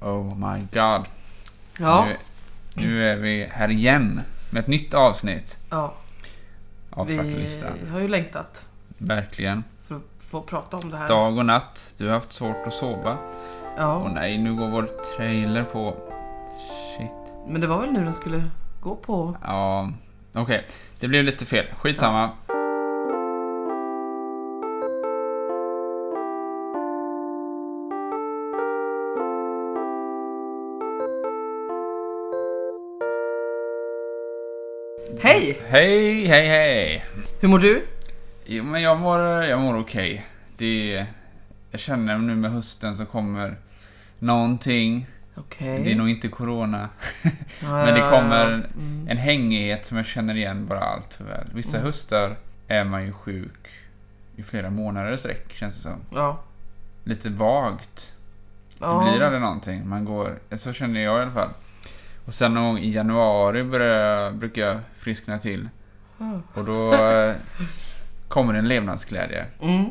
Oh my god. Ja. Nu, nu är vi här igen med ett nytt avsnitt ja. av Svarta Listan. Vi har ju längtat Verkligen. för att få prata om det här. Dag och natt. Du har haft svårt att sova. Och Ja. nej, nu går vår trailer på... Shit. Men det var väl nu den skulle gå Mm. på? Ja, okej. Det blev lite fel. Skitsamma. Hej! Hej, hej, hej. Hur mår du? Jo, men jag mår, jag mår okej. Det... Jag känner nu med hösten så kommer någonting. Okej. Det är nog inte corona. Ja, men det ja, kommer- ja. Mm. En hängighet som jag känner igen bara allt för väl. Vissa Mm. höstar är man ju sjuk i flera månader i sträck känns det som. Ja. Lite vagt. Det Ja. blir aldrig någonting. Man går, så känner jag i alla fall. Och sen någon gång i januari börjar, jag- brukar jag friskna till. Ja. Och då eh, kommer en levnadsglädje Mm.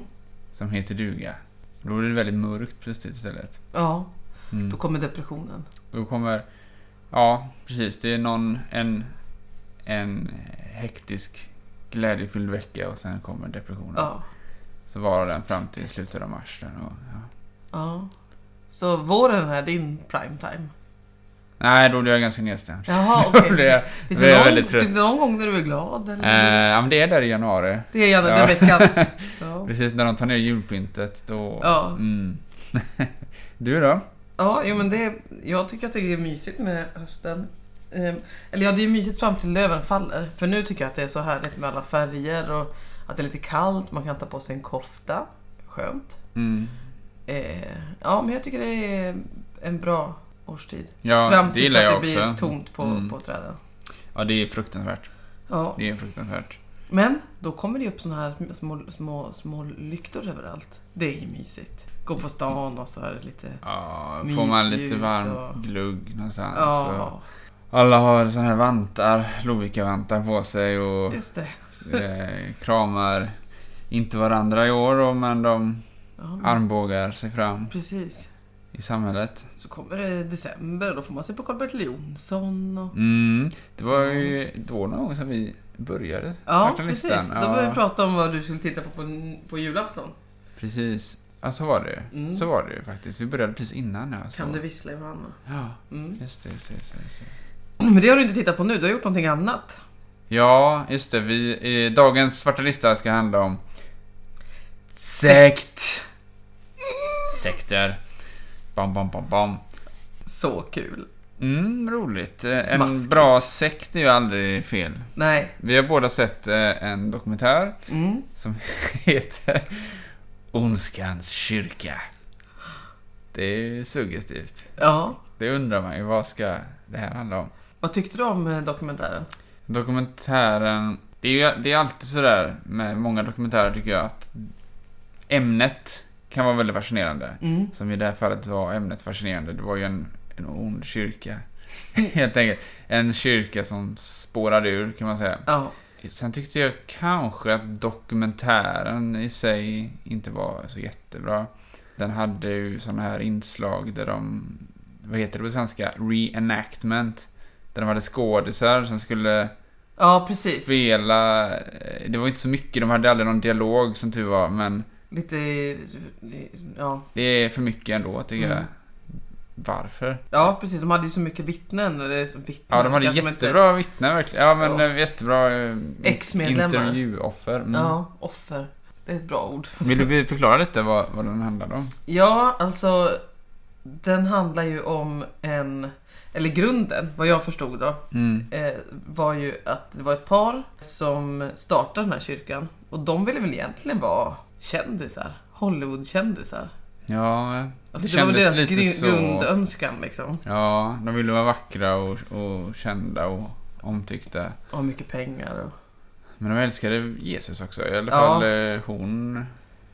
som heter duga. Då blir det väldigt mörkt plötsligt istället. ja. Mm. Då kommer depressionen. Då kommer... Ja, precis. Det är någon... En, en hektisk, glädjefylld vecka och sen kommer depressionen. Ja. Så varar den fram till slutet av mars. där Och, ja. ja. Så våren är din prime time? Nej, då blir jag ganska nedstämd. Jaha, Då okej. blir jag, Finns, då är jag det någon- väldigt trött. finns det någon gång när du är glad? eh, Eller? ja, men det är där i januari. det är gärna ja. den veckan. Ja. Precis när de tar ner julpyntet. Då, Ja. mm. du då? Ja, jo, men det, jag tycker att det är mysigt med hösten. Ehm, eller ja, det är mysigt fram till löven faller. För nu tycker jag att det är så härligt med alla färger och att det är lite kallt, man kan ta på sig en kofta. Skönt. Mm. Eh, ja, men jag tycker det är en bra årstid. Ja, fram det tills gillar att jag det också. blir tomt på, Mm. på träden. Ja, det är fruktansvärt. Ja, Det är fruktansvärt. men då kommer det upp såna här små, små, små lyktor överallt. Det är ju mysigt. Gå på stan och så är det lite... Ja, får man lite Mysljus varm och- glugg någonstans. och- Ja, Alla har såna här vantar, Lovikka-vantar på sig och just det. eh, kramar inte varandra i år då, men de Ja, men- armbågar sig fram Precis. i samhället. Så kommer det december och då får man se på Karl-Bertil Jonsson och... Mm, det var ju då någon gång som vi började Ja, Svarta precis. listan. Då började vi prata om vad du skulle titta på på, på julafton. precis. Ja, så var det ju. Mm. Så var det ju faktiskt. Vi började precis innan. Ja, så. Kan du vissla Johanna? Ja, Mm. just det, just det, just det, just det. Men det har du inte tittat på nu, du har gjort någonting annat. Ja, just det. Vi, eh, dagens svarta lista ska handla om Sekt! Mm. Sekter. Bam, bam, bam, bam. Så kul. Mm, roligt. Eh, En Smaskigt. bra sekt är ju aldrig fel. Nej. Vi har båda sett eh, en dokumentär Mm. som heter Ondskans kyrka. Det är ju suggestivt. Ja. Det undrar man ju, vad ska det här handla om? Vad tyckte du om eh, dokumentären? Dokumentären... Det är ju det är alltid sådär med många dokumentärer tycker jag att ämnet kan vara väldigt fascinerande. Mm. Som i det här fallet var ämnet fascinerande. Det var ju en, en ond kyrka. Helt enkelt. En kyrka som spårade ur kan man säga. Ja. Sen tyckte jag kanske att dokumentären i sig inte var så jättebra. Den hade ju sådana här inslag där de, vad heter det på svenska, reenactment. Där de hade skådisar som skulle Ja, precis. spela. eh, Det var inte så mycket, de hade aldrig någon dialog som tur var, men Lite... Ja. det är för mycket ändå tycker Mm. jag. Varför? ja, precis. De hade ju så mycket vittnen. Eller så vittnen Ja, de hade kanske man inte- jättebra vittnen verkligen. Ja, men Ja. eh, jättebra eh, Ex-medlemmar. intervjuoffer. Mm. Ja, offer. Det är ett bra ord. Vill du be- förklara lite vad, vad den handlade om? Ja, alltså den handlar ju om en, eller grunden, vad jag förstod då, Mm. eh, var ju att det var ett par som startade den här kyrkan och de ville väl egentligen vara kändisar, Hollywoodkändisar. Ja, Alltså, det det, var väl kändes deras lite gru- så. grundönskan liksom. ja, de ville vara vackra och, och kända och omtyckta. Och ha mycket pengar och... Men de älskade Jesus också. I alla Ja. fall eh, hon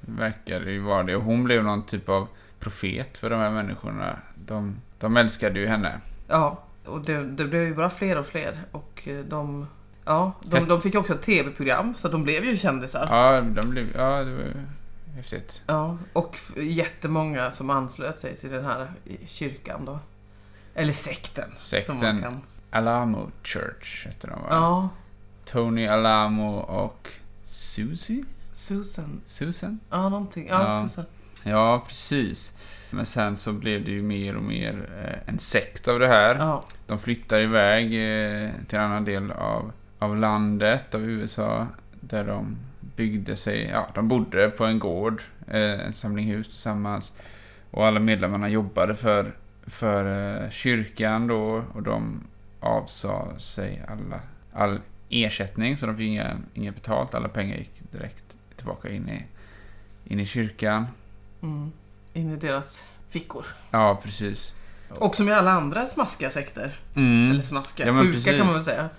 verkade ju vara det. Och hon blev någon typ av profet för de här människorna. De, de älskade ju henne. Ja, och det, det blev ju bara fler och fler och eh, de... Ja, de, Hett. de fick ju också ett tv-program så de blev ju kändisar. Ja, de blev, ja det var häftigt. Ja, och f- jättemånga som anslöt sig till den här i- kyrkan då. Eller sekten. Som man Sekten kan. Alamo Church heter de va? Ja, Tony Alamo och Susie? Susan. Susan? Ja, någonting. Ja, Ja. Susan. Ja, precis. Men sen så blev det ju mer och mer eh, en sekt av det här. Ja, De flyttar iväg eh, till en annan del av, av landet, av USA, där de byggde sig, ja, de bodde på en gård, eh, en samling hus tillsammans. Och alla medlemmarna jobbade för, för eh, kyrkan då och de avsade sig alla, all ersättning, så de fick inga, inga betalt, alla pengar gick direkt tillbaka in i, in i kyrkan. mm. In i deras fickor. Ja, precis. Och som i alla andra smaskiga sekter. Mm. eller smaska, Ja, men sjuka precis. kan man väl säga.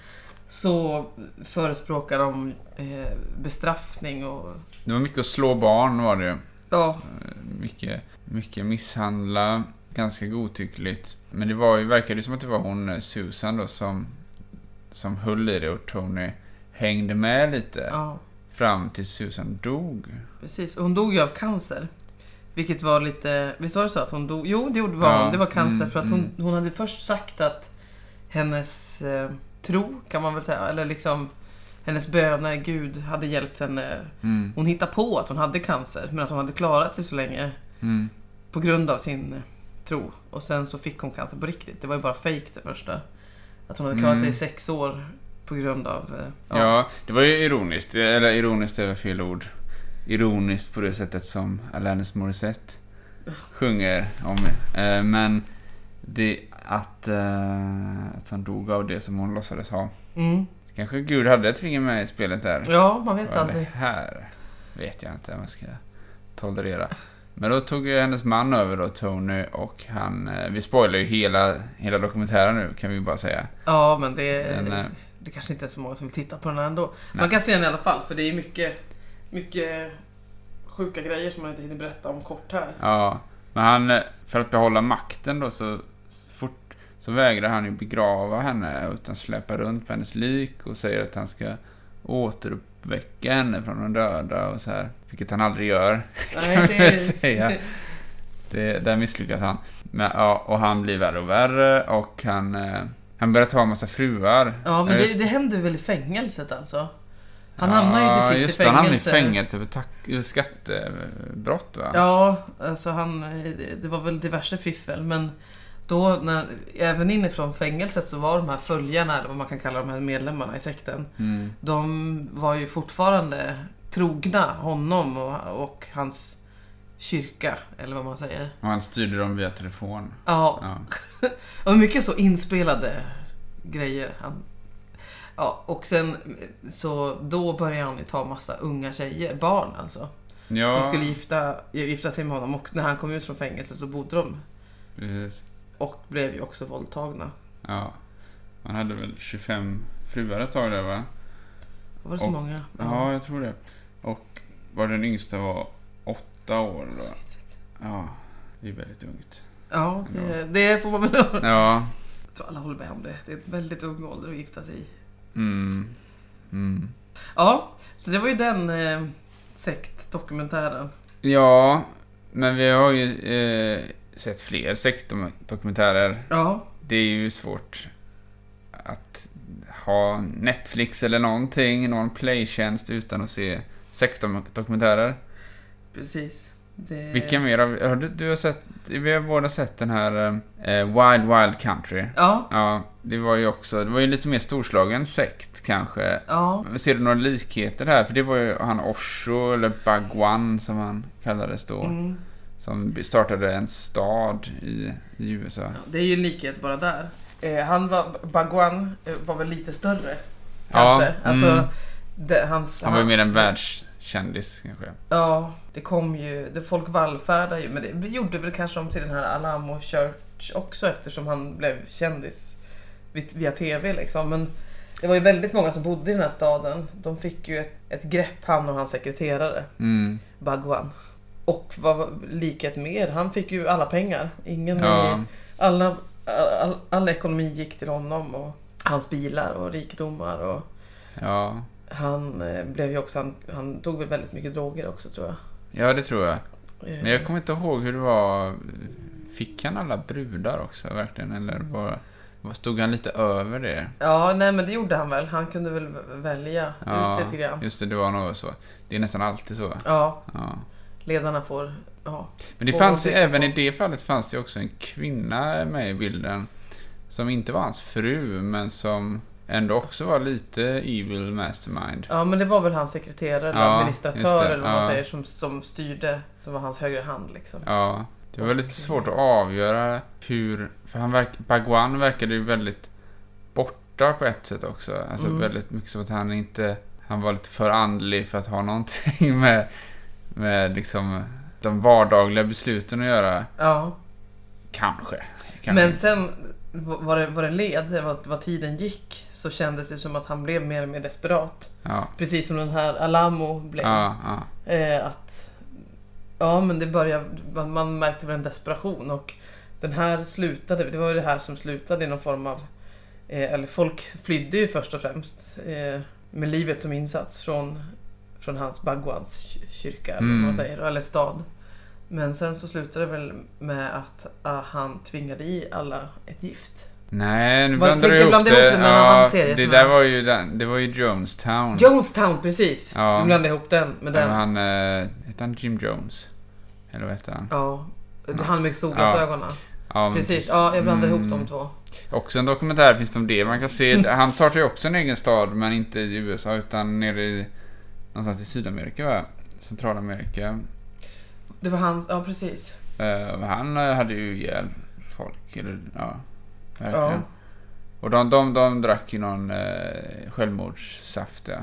Så förespråkar de eh, bestraffning och Det var mycket att slå barn var det ju. ja, mycket, mycket misshandla, ganska godtyckligt. Men det var ju, verkade ju som att det var hon eh, Susan då som, som höll i det och Tony hängde med lite ja fram tills Susan dog. precis. Och hon dog ju av cancer. Vilket var lite, visst var det så att hon dog? Jo det gjorde var Ja, hon, det var cancer mm, för att hon, mm. hon hade först sagt att hennes eh, tro kan man väl säga, eller liksom hennes böner, Gud hade hjälpt henne. Mm, Hon hittade på att hon hade cancer men att hon hade klarat sig så länge mm, på grund av sin eh, tro. Och sen så fick hon cancer på riktigt. Det var ju bara fejk det första. Att hon hade klarat sig i Mm. sex år på grund av... eh, ja. det var ju ironiskt. Eller ironiskt är väl fel ord. Ironiskt på det sättet som Alanis Morissette sjunger om. Eh, men det att, eh, att han dog av det som hon låtsades ha. Mm. Kanske Gud hade ett finger med i spelet där. ja man vet Vad det aldrig. här vet jag inte om jag ska tolerera. Men då tog ju hennes man över då, Tony, och han... eh, Vi spoilar ju hela, hela dokumentären nu, kan vi ju bara säga. Ja, men det, Men, eh, det kanske inte är så många som vill titta på den här ändå. Man Nej. kan se den i alla fall, för det är mycket, mycket sjuka grejer som man inte hinner berätta om kort här. Ja, men han... eh, För att behålla makten då så, så fort... Så vägrar han ju begrava henne, utan släpar runt på hennes lik och säger att han ska återuppväcka henne från de döda och så här. Vilket han aldrig gör, kan Nej, vi väl det, säga. Det, där misslyckas han. Men, ja, och han blir värre och värre och han, eh, han börjar ta en massa fruar. ja, men Ja, det, just- det händer väl i fängelset alltså? Han Ja, hamnar ju till sist just i det, Han hamnar i fängelse. fängelse för tack, skattebrott va? Ja, alltså han, det var väl diverse fiffel men då, när, även inifrån fängelset så var de här följarna, eller vad man kan kalla de här medlemmarna i sekten, Mm. de var ju fortfarande trogna honom och, och hans kyrka, eller vad man säger. Och han styrde dem via telefon. Ja, Ja. och mycket så inspelade grejer. Han, ja, och sen så då började han ju ta massa unga tjejer, barn alltså, ja som skulle gifta, gifta sig med honom och när han kom ut från fängelset så bodde de precis. Och blev ju också våldtagna. Ja. Han hade väl 25 fruar ett tag där va? Var det så Och- många? Ja, jag tror det. Och var den yngsta var åtta år då. Ja, det är väldigt ungt. Ja, det, det får man väl Jag Ja. tror alla håller med om det. Det är en väldigt ung ålder att gifta sig i. Mm. Mm. Ja, så det var ju den eh, sektdokumentären. Ja, men vi har ju eh, sett fler sektdokumentärer. Ja, Det är ju svårt att ha Netflix eller någonting, någon playtjänst utan att se sektdokumentärer. precis. Det... Vilka mer har vi? Har du, du har sett, vi har båda sett den här eh, Wild Wild Country. Ja, Ja, det var ju också, det var ju lite mer storslagen sekt kanske. ja. Ser du några likheter här? För det var ju han Osho, eller Bagwan som han kallades då. Mm. Som startade en stad i, i USA. ja. Det är ju en likhet bara där. Eh, han var, Bagwan eh, var väl lite större. Kanske. mm. Alltså, det, hans... Han var ju mer en världskändis kanske. Ja, det kom ju, det folk vallfärdar ju, men det gjorde väl kanske om till den här Alamo Church också eftersom han blev kändis vid- via TV liksom. Men det var ju väldigt många som bodde i den här staden. De fick ju ett, ett grepp, han och hans sekreterare Mm. Bagwan. Och vad var likhet mer? Han fick ju alla pengar. Ingen Ja, alla, all, all ekonomi gick till honom och hans bilar och rikedomar. Och ja, han eh, blev ju också, han, han tog väl väldigt mycket droger också tror jag. Ja, det tror jag. Eh, Men jag kommer inte ihåg hur det var. Fick han alla brudar också verkligen? Eller var, var- stod han lite över det? Ja, nej men det gjorde han väl. Han kunde väl välja Ja, ut lite grann. Just det, det var nog så. Det är nästan alltid så. Ja, Ja. ledarna får... Ja. Men det Får fanns, titta även på. i det fallet fanns det också en kvinna med i bilden. Som inte var hans fru, men som ändå också var lite evil mastermind. ja, men det var väl hans sekreterare eller Ja, just administratör det. eller vad man Ja. säger som, som styrde. Som var hans högra hand liksom. Ja, det var lite svårt att avgöra hur... För han verk, Bagwan verkade ju väldigt borta på ett sätt också. Alltså Mm. väldigt mycket som att han inte... Han var lite för andlig för att ha någonting med, med liksom de vardagliga besluten att göra. Ja. Kanske. Kanske. Men sen var det, var det led, vad, vad tiden gick, så kändes det som att han blev mer och mer desperat. Ja, Precis som den här Alamo blev. ja, ja. Eh, att, ja men det började, man, man märkte väl en desperation och den här slutade, det var ju det här som slutade i någon form av, eh, eller folk flydde ju först och främst eh, med livet som insats från, från hans Bagwans ky- kyrka, eller vad man Mm. säger, eller stad. Men sen så slutade det väl med att ah, han tvingade i alla ett gift. Nej, nu Vad- blandar du tänker ihop blanda det. ihop det med en ja, annan serie det som där är- var ju den, det var ju Jonestown. Jonestown, precis! Mm. Ja. Nu blandade jag ihop den med Där den. var han, eh, hette han Jim Jones? Eller vad hette han? Ja. Han med solglasögonen. Ja, men Precis, ja, jag blandade ihop Mm. de två. Också en dokumentär finns det om det. Man kan se, Mm. han tar sig också en egen stad, men inte i USA utan nere i någonstans i Sydamerika, va? Centralamerika. Det var hans, ja precis. Eh, och han eh, hade ju ihjäl folk, eller ja. Verkligen. Ja. Och de, de, de drack ju någon eh, självmordssaft, ja.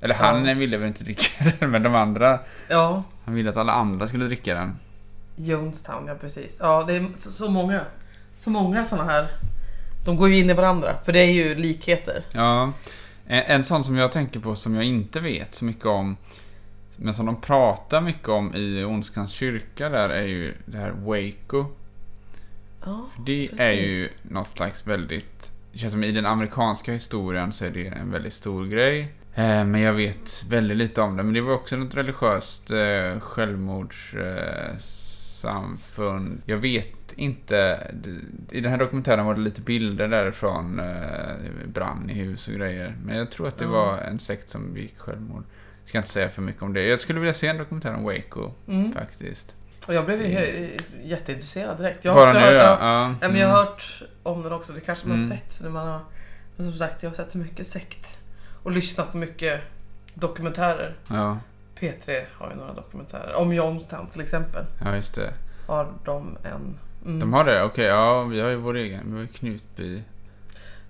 Eller Ja. han ville väl inte dricka den, men de andra. ja, Han ville att alla andra skulle dricka den. Jonestown, ja precis. Ja, det är så, så många. Så många sådana här. De går ju in i varandra, för det är ju likheter. Ja. En, en sån som jag tänker på som jag inte vet så mycket om, men som de pratar mycket om i Ondskans kyrka där, är ju det här Waco. Ja, För det Precis. är ju något slags väldigt... Det känns som i den amerikanska historien så är det en väldigt stor grej. Eh, Men jag vet väldigt lite om det. Men det var också något religiöst eh, självmordssamfund. Jag vet inte. Det- I den här dokumentären var det lite bilder därifrån. eh, Brann i hus och grejer. Men jag tror att det Ja. var en sekt som begick självmord. Jag ska inte säga för mycket om det. Jag skulle vilja se en dokumentär om Waco mm. faktiskt. Och jag blev ju he- jätteintresserad direkt. Jag har Bara också nu hört, ja. ja. ja. Ja, men jag har hört om den också, det kanske man har Mm. sett. För när man har, men som sagt, jag har sett så mycket sekt. Och lyssnat på mycket dokumentärer. Mm. ja. P3 har ju några dokumentärer. Om Jonestown till exempel. Ja, just det. Har de en. Mm, De har det? Okej, ja, vi har ju vår egen. Vi har ju Knutby.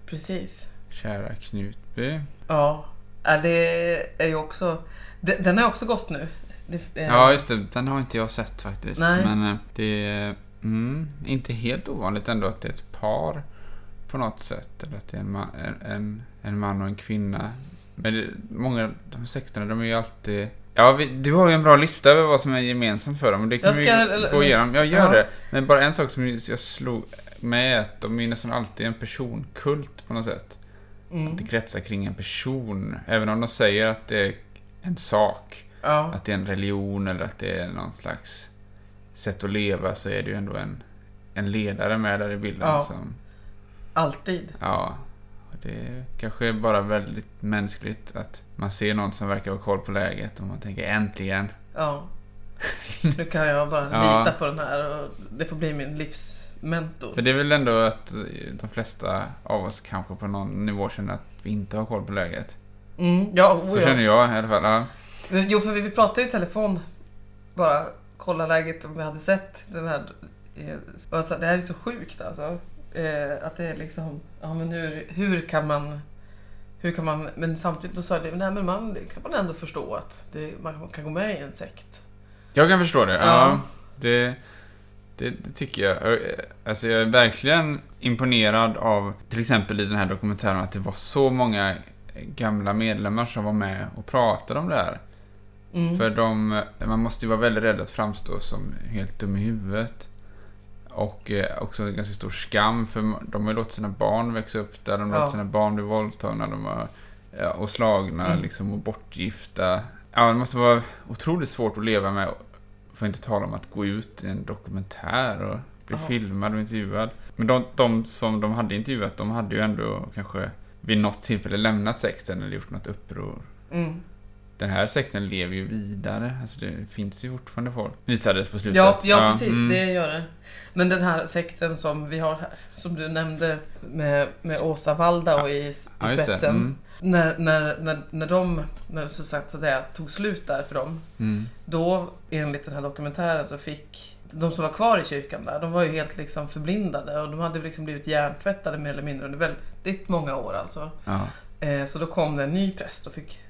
Precis. Kära Knutby. Ja, ja, det är ju också... de- Den har också gått nu. Det, eh, Ja, just det. Den har inte jag sett faktiskt. Nej. Men eh, det är mm, inte helt ovanligt ändå att det är ett par på något sätt. Eller att det är en, ma- en- en, en man och en kvinna. Men det, många av de här sekterna, de är ju alltid... Ja, vi, du har ju en bra lista över vad som är gemensamt för dem. och Det kan Jag ska- vi eller- gå igenom. Jag gör Ja. det. Men bara en sak som jag slog med är att de är nästan alltid en personkult på något sätt. Mm. Det kretsar kring en person. Även om de säger att det är en sak, Ja, att det är en religion eller att det är någon slags sätt att leva så är det ju ändå en, en ledare med där i bilden. Ja. Som, alltid. ja, och det kanske är bara väldigt mänskligt att man ser någon som verkar ha koll på läget och man tänker äntligen. Ja. Nu kan jag bara Ja. lita på den här och det får bli min livsmentor. För det är väl ändå att eh, de flesta av oss kanske på någon nivå känner att vi inte har koll på läget. Mm, ja, oh, Så ja. känner jag i alla fall. Ja. Jo, för vi, vi pratade ju i telefon. Bara kolla läget om vi hade sett den här. eh, och jag sa, det här är så sjukt alltså. Eh, att det är liksom, ja men hur, hur kan man... Hur kan man, men samtidigt då sa jag det, nej, men man det kan man ändå förstå att det, man, man kan gå med i en sekt. Jag kan förstå det. Ja. Ja. det, det, det tycker jag. Eh, Alltså jag är verkligen imponerad av till exempel i den här dokumentären att det var så många gamla medlemmar som var med och pratade om det här. Mm. För de, man måste ju vara väldigt rädd att framstå som helt dum i huvudet. Och eh, också en ganska stor skam för de har ju låtit sina barn växa upp där, de har Ja. låtit sina barn bli våldtagna de har, ja, eh, och slagna Mm. liksom, och bortgifta. Ja, det måste vara otroligt svårt att leva med. Får inte tala om att gå ut i en dokumentär och bli Ja. filmad och intervjuad. Men de, de som de hade intervjuat, de hade ju ändå kanske vid något tillfälle lämnat sekten eller gjort något uppror. Mm. Den här sekten lever ju vidare. Alltså det finns ju fortfarande folk. Visades på slutet. Ja, ja, precis. mm. Det gör det. Men den här sekten som vi har här, som du nämnde med, med Åsa Valda och i, i Ja, just det. spetsen. Mm. När, när, när, när de, när så sagt, så att säga, tog slut där för dem, Mm. då enligt den här dokumentären så fick de som var kvar i kyrkan där, de var ju helt liksom förblindade och de hade liksom blivit hjärntvättade mer eller mindre under väldigt många år alltså. Ja. Eh, så då kom det en ny präst och fick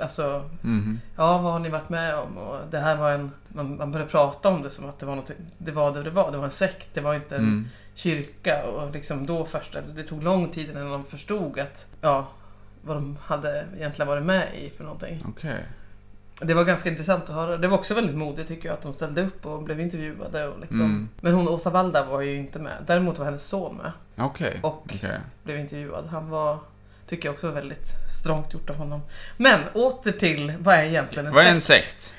Alltså, Mhm. ja vad har ni varit med om? Och det här var en, man, man började prata om det som att det var något, det var det det var. Det var en sekt, det var inte en Mm. kyrka. Och liksom då först, det tog lång tid innan de förstod att, ja, vad de hade egentligen varit med i för någonting. Okej. Det var ganska intressant att höra. Det var också väldigt modigt tycker jag att de ställde upp och blev intervjuade. Och liksom. Mm. Men hon Åsa Valda var ju inte med. Däremot var hennes son med Okej. och Okej. blev intervjuad. Han var, tycker jag också var väldigt strångt gjort av honom. Men åter till vad är egentligen en Vad är sekt? en sekt?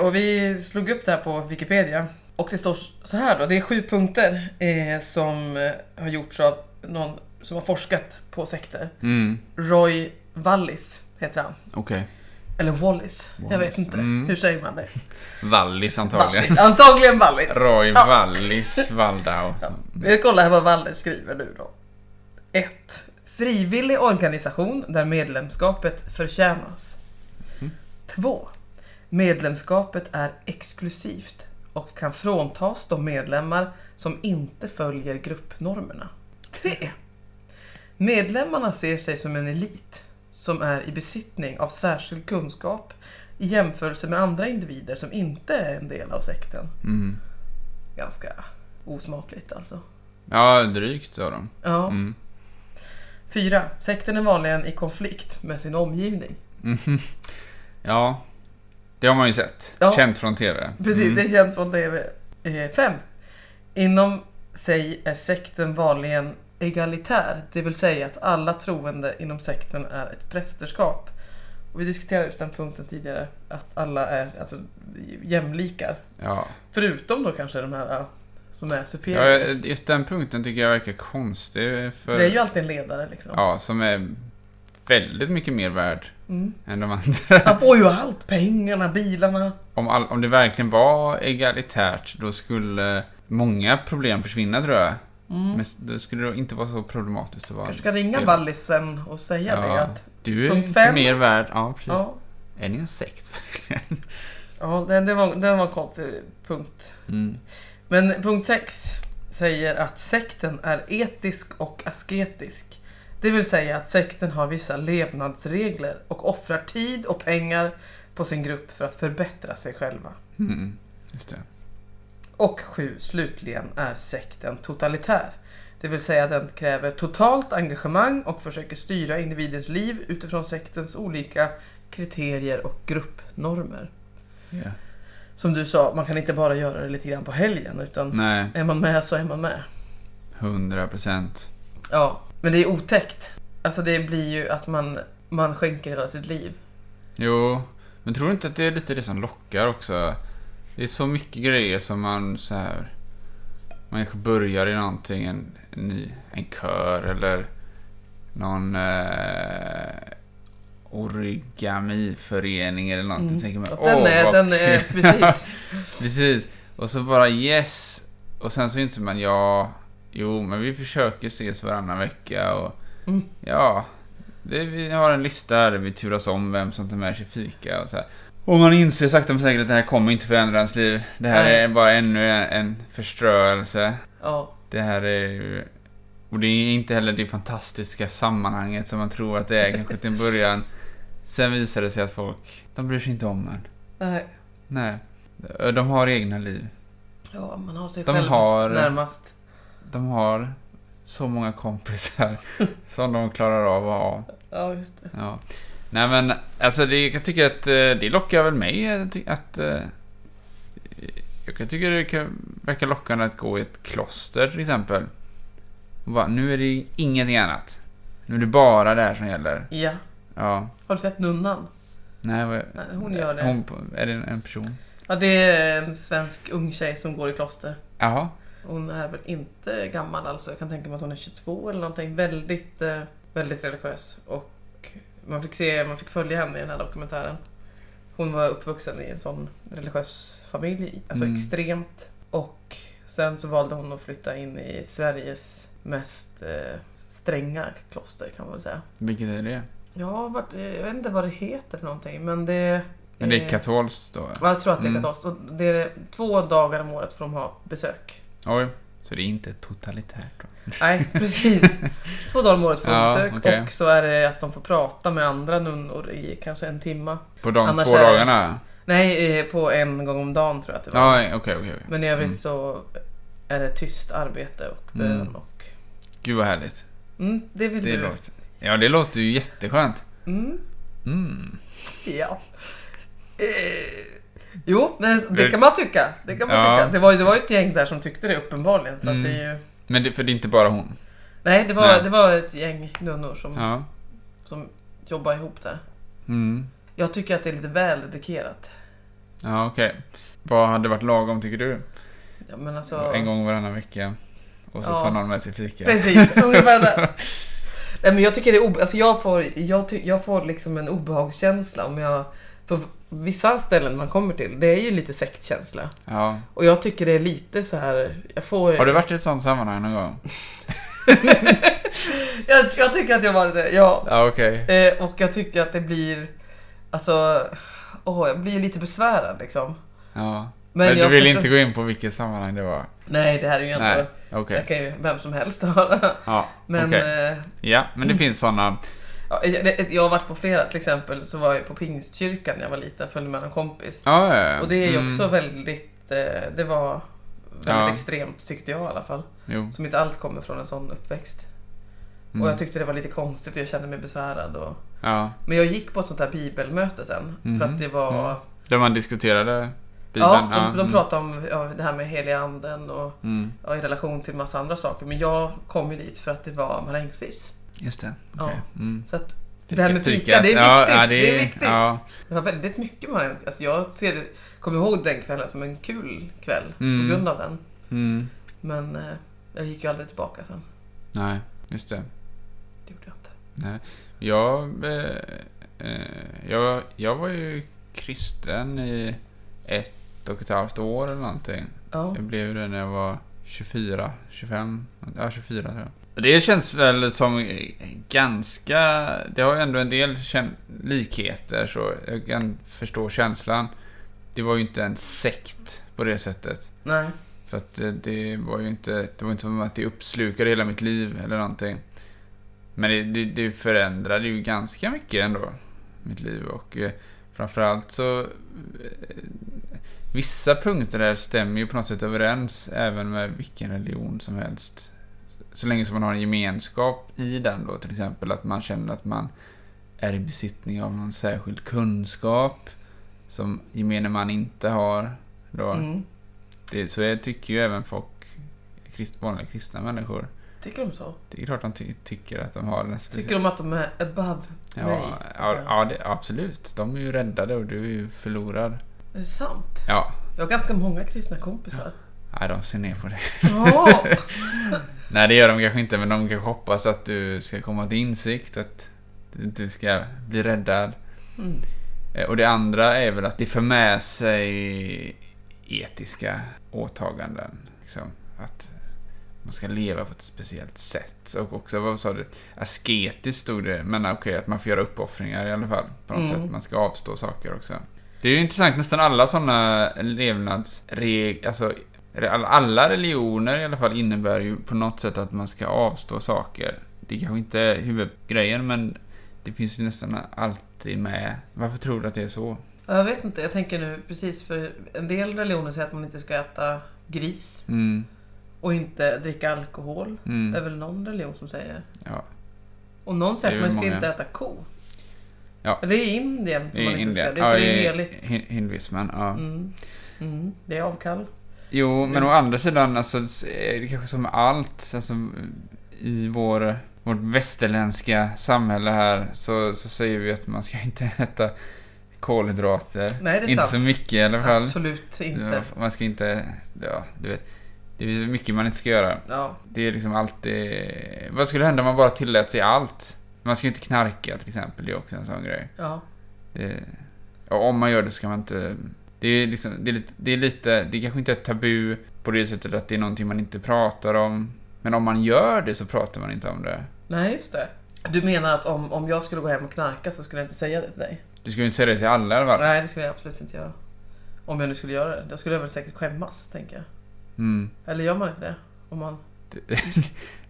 Eh, och vi slog upp det här på Wikipedia. Och det står så här då, det är sju punkter eh, som eh, har gjorts av någon som har forskat på sekter. Mm. Roy Wallis heter han. Okej. Eller Wallis, jag vet Wallis, inte. mm. Hur säger man det? Vallis antagligen. Wallis. Antagligen Wallis. Roy Ja. Wallis Waldau. Vi kollar här vad Valle skriver nu då. 1. Frivillig organisation där medlemskapet förtjänas. 2. Medlemskapet är exklusivt och kan fråntas de medlemmar som inte följer gruppnormerna. 3. Medlemmarna ser sig som en elit som är i besittning av särskild kunskap i jämförelse med andra individer som inte är en del av sekten. Mm. Ganska osmakligt alltså. Ja, drygt sa de. Ja. Mm. Fyra. Sekten är vanligen i konflikt med sin omgivning. Mm-hmm. Ja, det har man ju sett. Ja. Känt från TV. Precis, Mm. det är känt från TV. Eh, Fem. Inom sig är sekten vanligen egalitär, det vill säga att alla troende inom sekten är ett prästerskap. Och vi diskuterade just den punkten tidigare, att alla är alltså, jämlikar. Ja. Förutom då kanske de här eh, som är superior. ja, eh, just den punkten tycker jag verkar konstig. För det är För, ju alltid en ledare liksom. ja, som är väldigt mycket mer värd Mm. än de andra. Han får ju allt, pengarna, bilarna. Om, all, om det verkligen var egalitärt, då skulle många problem försvinna tror jag. Men s- då skulle det inte vara så problematiskt att vara... Mm. Kanske ska ringa Ja. Vallisen och säga Ja. det att Du är Punkt inte fem. mer värd. Ja, precis. ja, Är ni en sekt? Ja, det, det, var, det var en konstig punkt. Mm. Men punkt 6 säger att sekten är etisk och asketisk. Det vill säga att sekten har vissa levnadsregler och offrar tid och pengar på sin grupp för att förbättra sig själva. Mm. Just det. Och 7. Slutligen är sekten totalitär. Det vill säga den kräver totalt engagemang och försöker styra individens liv utifrån sektens olika kriterier och gruppnormer. Ja. Som du sa, man kan inte bara göra det lite grann på helgen utan Nej, är man med så är man med. 100 procent. Ja, men det är otäckt. Alltså det blir ju att man, man skänker hela sitt liv. Mm. Jo, men tror du inte att det är lite det som lockar också? Det är så mycket grejer som man så här... Man kanske börjar i någonting, en, en, ny, en kör eller någon eh, origamiförening eller någonting. Mm. Så tänker man, Och den "Åh, är, vad den är, kul." precis. Precis. Och så bara yes. Och sen så inser man ja, jo, men vi försöker ses varannan vecka och Mm. ja, det, vi har en lista där vi turas om vem som tar med sig fika och så här. Och man inser sakta men säkert att det här kommer inte förändra ens liv. Det här Nej. är bara ännu en, en förstörelse. Ja, Det här är ju... Och det är inte heller det fantastiska sammanhanget som man tror att det är kanske till en början. Sen visar det sig att folk, de bryr sig inte om en. nej. Nej. De har egna liv. Ja, man har sig De själv har- närmast. De har så många kompisar som de klarar av att ha. Ja, just det. Ja. Nej men, alltså det, jag tycker att eh, det lockar väl mig eh, ty- att... eh, Jag kan tycka det kan, verkar lockande att gå i ett kloster till exempel. Och bara, nu är det ingenting annat. Nu är det bara det här som gäller. Ja. Ja. Har du sett Nunnan? Nej, vad, Nej, hon gör det. Hon, på- är det en- en person? Ja, det är en svensk ung tjej som går i kloster. Jaha. Hon är väl inte gammal alls. Jag kan tänka mig att hon är 22 eller någonting. Väldigt, eh, väldigt religiös. Och man fick, se, man fick följa henne i den här dokumentären. Hon var uppvuxen i en sån religiös familj. Alltså Mm. extremt. Och sen så valde hon att flytta in i Sveriges mest eh, stränga kloster kan man väl säga. Vilket är det? Ja, vad, eh, jag vet inte vad det heter för någonting men det... Men det är eh, katolskt då? Ja, jag tror att det är Mm. katolskt. Och det är två dagar om året får de ha besök. Oj. Så det är inte totalitärt då? Nej, precis. Två dagar om året får de Ja, besök okej. och så är det att de får prata med andra nunnor i kanske en timma. På de Annars två är- dagarna? Nej, eh, på en gång om dagen tror jag att det var. Ja, okej, okej. okej. Men i övrigt Mm. så är det tyst arbete och bön Mm. och... Gud vad härligt. Mm, det vill Det du. låter... Ja, det låter ju jätteskönt. Mm, Mm. ja. Eh, jo, men det kan man tycka. Det kan man Ja. tycka. Det var, ju- det var ju ett gäng där som tyckte det uppenbarligen. För Mm. att det är ju... Men det, för det är inte bara hon? Nej, det var, Nej. Det var ett gäng nunnor som, Ja. som jobbade ihop där. Mm. Jag tycker att det är lite väl dedikerat. Ja, okej. Vad hade varit lagom tycker du? Ja, men alltså... En gång varannan vecka. Och så Ja. tar någon med sig fika. Precis, ungefär där. Nej, men jag tycker det är obe- alltså jag får, jag, ty- jag får liksom en obehagskänsla om jag... På vissa ställen man kommer till, det är ju lite sektkänsla. Ja. Och jag tycker det är lite så här... Jag får... Har du varit i ett sånt sammanhang någon gång? jag, jag tycker att jag var det, ja. Ja, okej. Eh, och jag tycker att det blir... Alltså... Åh, jag blir lite besvärad liksom. Ja. Men Men, du jag vill förstår- inte gå in på vilket sammanhang det var? Nej, det här är ju ändå... Nej, Det okej. kan ju vem som helst höra. Ja, Men... okej. Eh, Ja, men det finns såna. Ja, det- Jag har varit på flera, till exempel så var jag på pingstkyrkan när jag var liten, följde med en kompis. Ja, ja, ja. Och det är ju Mm. också väldigt, eh, det var väldigt Ja. extremt tyckte jag i alla fall. Jo. Som inte alls kommer från en sån uppväxt. Mm. Och jag tyckte det var lite konstigt och jag kände mig besvärad. Och... Ja. Men jag gick på ett sånt här bibelmöte sen. För Mhm. att det var... Mm. Där man diskuterade Bibeln? Ja, de, de mm. pratade om ja, det här med heliga anden och Mm. ja, i relation till massa andra saker. Men jag kom ju dit för att det var marängsviss. Just det. Ja. Okej. Mm. Så att det här med fika, fikat. det är ja, viktigt, Ja, det är viktigt. Ja. Det var väldigt mycket man alltså jag ser det, kommer ihåg den kvällen som en kul kväll Mm. på grund av den. Mm. Men eh, jag gick ju aldrig tillbaka sen. Nej, just det. Det gjorde jag inte. Jag, eh, eh, jag, jag var ju kristen i ett och ett halvt år eller någonting. Ja. Jag blev det när jag var 24, 25, ja 24 tror jag. Och Det känns väl som eh, ganska, det har ju ändå en del kän- likheter så jag kan förstå känslan. Det var ju inte en sekt på det sättet. Nej. För att eh, det var ju inte, det var inte som att det uppslukade hela mitt liv eller någonting. Men det, det, det förändrade ju ganska mycket ändå, mitt liv. Och eh, framförallt så... Eh, vissa punkter där stämmer ju på något sätt överens även med vilken religion som helst. Så länge som man har en gemenskap i den då, till exempel att man känner att man är i besittning av någon särskild kunskap som gemene man inte har. Då. Mm. Det, så det tycker ju även folk, krist, vanliga kristna människor. Tycker de så? Det är klart de ty- tycker att de har den Tycker de att de är above? ja, mig, ja, alltså? ja det, absolut. De är ju räddade och du är ju förlorad. Är det sant? Ja, Jag har ganska många kristna kompisar. nej, de ser ner på dig. Ja! Nej, det gör de kanske inte, men de kanske hoppas att du ska komma till insikt, att du- du ska bli räddad. Mm. Eh, Och det andra är väl att det för med sig etiska åtaganden. Liksom. Att man ska leva på ett speciellt sätt. Och också, vad sa du? Asketiskt stod det, men okej, att man får göra uppoffringar i alla fall. På något Mm. sätt, man ska avstå saker också. Det är ju intressant, nästan alla sådana levnadsregler, alltså re- all- alla religioner i alla fall innebär ju på något sätt att man ska avstå saker. Det är kanske inte är huvudgrejen, men det finns ju nästan alltid med. Varför tror du att det är så? Ja, Jag vet inte, jag tänker nu precis för en del religioner säger att man inte ska äta gris Mm, och inte dricka alkohol. Det är mm, väl någon religion som säger. ja. Och någon Det säger är att man väl ska många. inte äta ko. Ja. Det är i Indien som I man inte ska, Indien. det är för det i är heligt. hin- Hinduismen, ja. Mm. Mm. Det är avkall. Jo, men Mm. å andra sidan, alltså, är det kanske som med allt, alltså, i vår, vårt västerländska samhälle här, så, så säger vi att man ska inte äta kolhydrater. Nej, det är Inte så sant. mycket i alla fall. Absolut Ja, inte. man ska inte... Ja, du vet. Det är mycket man inte ska göra. Ja. Det är liksom alltid... Vad skulle hända om man bara tillät sig allt? Man ska ju inte knarka till exempel, det är också en sån grej. ja. Det, Eh, och om man gör det ska man inte... Det är, liksom, det, är lite, det är lite... Det kanske inte är ett tabu på det sättet att det är någonting man inte pratar om. Men om man gör det så pratar man inte om det. Nej, just det. Du menar att om, om jag skulle gå hem och knarka så skulle jag inte säga det till dig? Du skulle ju inte säga det till alla i alla fall. Nej, det skulle jag absolut inte göra. Om jag nu skulle göra det. Då skulle jag väl säkert skämmas, tänker jag. Mm. Eller gör man inte det? Om man... Det,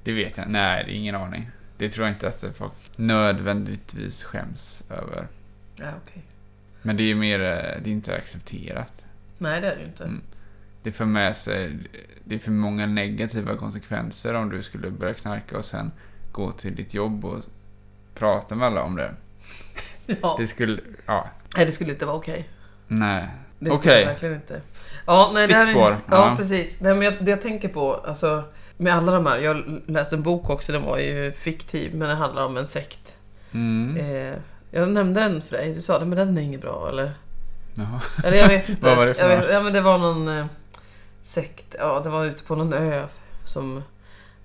det vet jag Nej, det är ingen aning. Det tror jag inte att folk nödvändigtvis skäms över. Ja, okej. Men det är ju mer... eh, Det är inte accepterat. Nej, det är det ju inte. Mm. Det för med sig... Det är för många negativa konsekvenser om du skulle börja knarka och sen gå till ditt jobb och prata med alla om det. Ja. Det skulle... Ja. Nej, det skulle inte vara okej. Nej. Det skulle Okej. det verkligen inte. Ja, nej, det här är, Stickspår. ja, Ja. precis. Nej, men jag, det jag tänker på, alltså, med alla de här, jag läste en bok också, den var ju fiktiv, men den handlar om en sekt. Mm. Eh, jag nämnde den för dig, du sa det, men den är inget bra, eller? Jaha. Eller jag vet inte. Vad var det för jag vet, något? ja, men Det var någon eh, sekt, ja det var ute på någon ö som,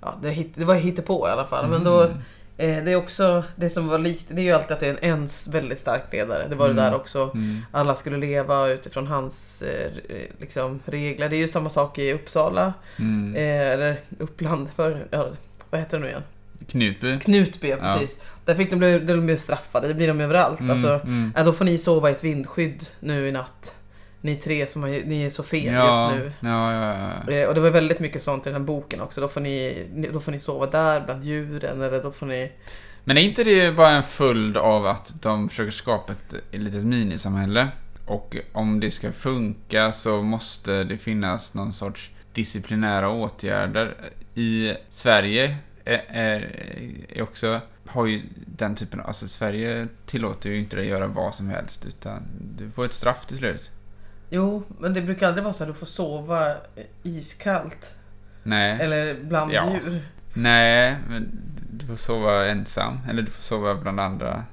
ja det, hitt, det var hittepå i alla fall. Men då, Mm. eh, det är också, det som var likt, det är ju alltid att det är en, en s- väldigt stark ledare. Det var det Mm. där också. Mm. Alla skulle leva utifrån hans eh, re- liksom, regler. Det är ju samma sak i Uppsala, Mm. eh, eller Uppland, för, ja, vad heter det nu igen? Knutby. Knutby, ja, Ja. precis. Där fick de, bli- de blev straffade, det blir de överallt. Mm. Alltså, Mm. Ja, då får ni sova i ett vindskydd nu i natt. Ni tre som har, ni är så fel Ja, just nu. ja, ja, ja. Eh, Och det var väldigt mycket sånt i den här boken också. Då får ni, ni- då får ni sova där bland djuren eller då får ni... Men är inte det bara en följd av att de försöker skapa ett, ett litet minisamhälle? Och om det ska funka så måste det finnas någon sorts disciplinära åtgärder. I Sverige är, är, är också, har ju den typen av, alltså Sverige tillåter ju inte dig göra vad som helst utan du får ett straff till slut. Jo, men det brukar aldrig vara så att du får sova iskallt. Nej. Eller bland Ja. djur. Nej, men du får sova ensam. Eller du får sova bland andra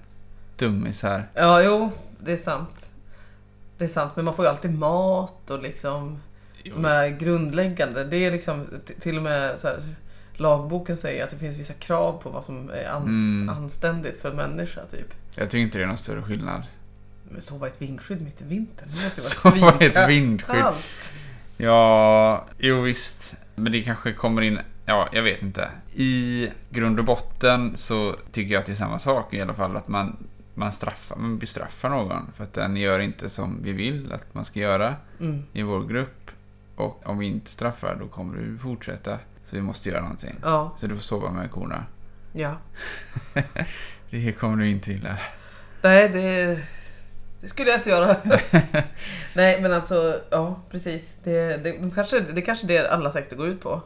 dummisar. Ja, jo, det är sant. Det är sant, men man får ju alltid mat och liksom... De här grundläggande, det är liksom t- till och med så här, lagboken säger att det finns vissa krav på vad som är ans- Mm. anständigt för en människa typ. Jag tycker inte det är någon större skillnad. Men sova i ett vindskydd mitt i vintern, det måste Så ju vara var det ett svinkallt. vindskydd. Ja, jo visst. Men det kanske kommer in, ja jag vet inte. I grund och botten så tycker jag att det är samma sak i alla fall. Att man, man, straffar, man bestraffar någon för att den gör inte som vi vill att man ska göra Mm. i vår grupp. Och om vi inte straffar då kommer du fortsätta. Så vi måste göra någonting. Ja, Så du får sova med korna. ja. Det kommer du inte gilla. Nej, det, det skulle jag inte göra. Nej, men alltså, ja precis. Det, det, de kanske, det kanske det alla sekter går ut på.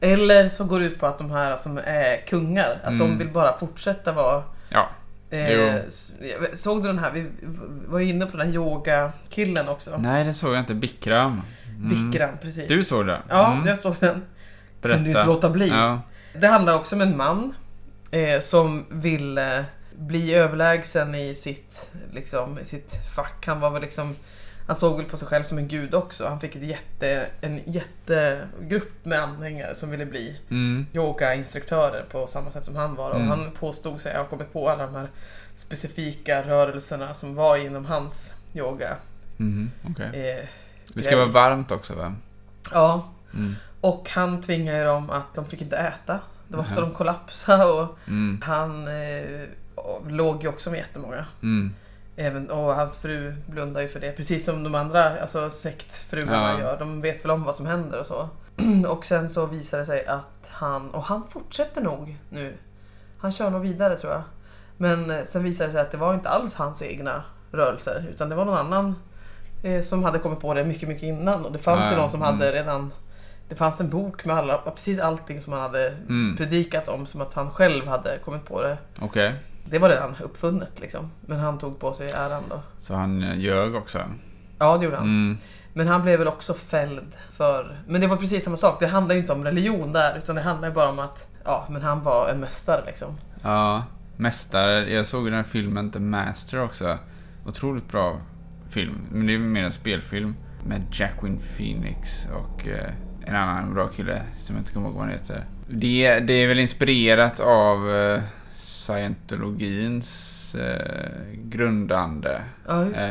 Eller så går det ut på att de här som är kungar, att de Mm. vill bara fortsätta vara Ja. Jo. Eh, s- jag- såg du den här? Vi v- var ju inne på den här yogakillen också. Nej, det såg jag inte. Bikram. Mm. Bikram, precis. Du såg det? Ja, Mm. jag såg den. Berätta. Kunde ju inte låta bli. Ja. Det handlar också om en man eh, som vill eh, bli överlägsen i sitt, liksom, i sitt fack. Han var väl liksom han såg väl på sig själv som en gud också. Han fick ett jätte, en jättegrupp med anhängare som ville bli Mm. yogainstruktörer på samma sätt som han var. Mm. Och han påstod sig ha kommit på alla de här specifika rörelserna som var inom hans yoga. Mhm, okej. Eh, Det ska vara varmt också va? ja. Mm. Och han tvingade dem att de fick inte äta. Det var ofta Mhm. de kollapsade och Mm. han eh, låg ju också med jättemånga. Mm. Även, och hans fru blundar ju för det, precis som de andra alltså sektfruarna Ja. gör. De vet väl om vad som händer och så. Och sen så visar det sig att han, och han fortsätter nog nu. Han kör nog vidare tror jag. Men eh, sen visar det sig att det var inte alls hans egna rörelser, utan det var någon annan eh, som hade kommit på det mycket, mycket innan. Och det fanns ju Ja, någon som mm. hade redan... Det fanns en bok med alla, precis allting som han hade Mm. predikat om, som att han själv hade kommit på det. Okej. Det var redan uppfunnet liksom. Men han tog på sig äran då. Så han eh, ljög också? Ja, det gjorde han. Mm. Men han blev väl också fälld för... Men det var precis samma sak. Det handlar ju inte om religion där, utan det handlar ju bara om att... Ja, men han var en mästare liksom. Ja. Mästare. Jag såg den här filmen The Master också. Otroligt bra film. Men det är mer en spelfilm. Med Jacqueline Phoenix och eh, en annan bra kille som jag inte kommer ihåg vad han heter. Det, det är väl inspirerat av eh, scientologins eh, grundande. Ja, just det.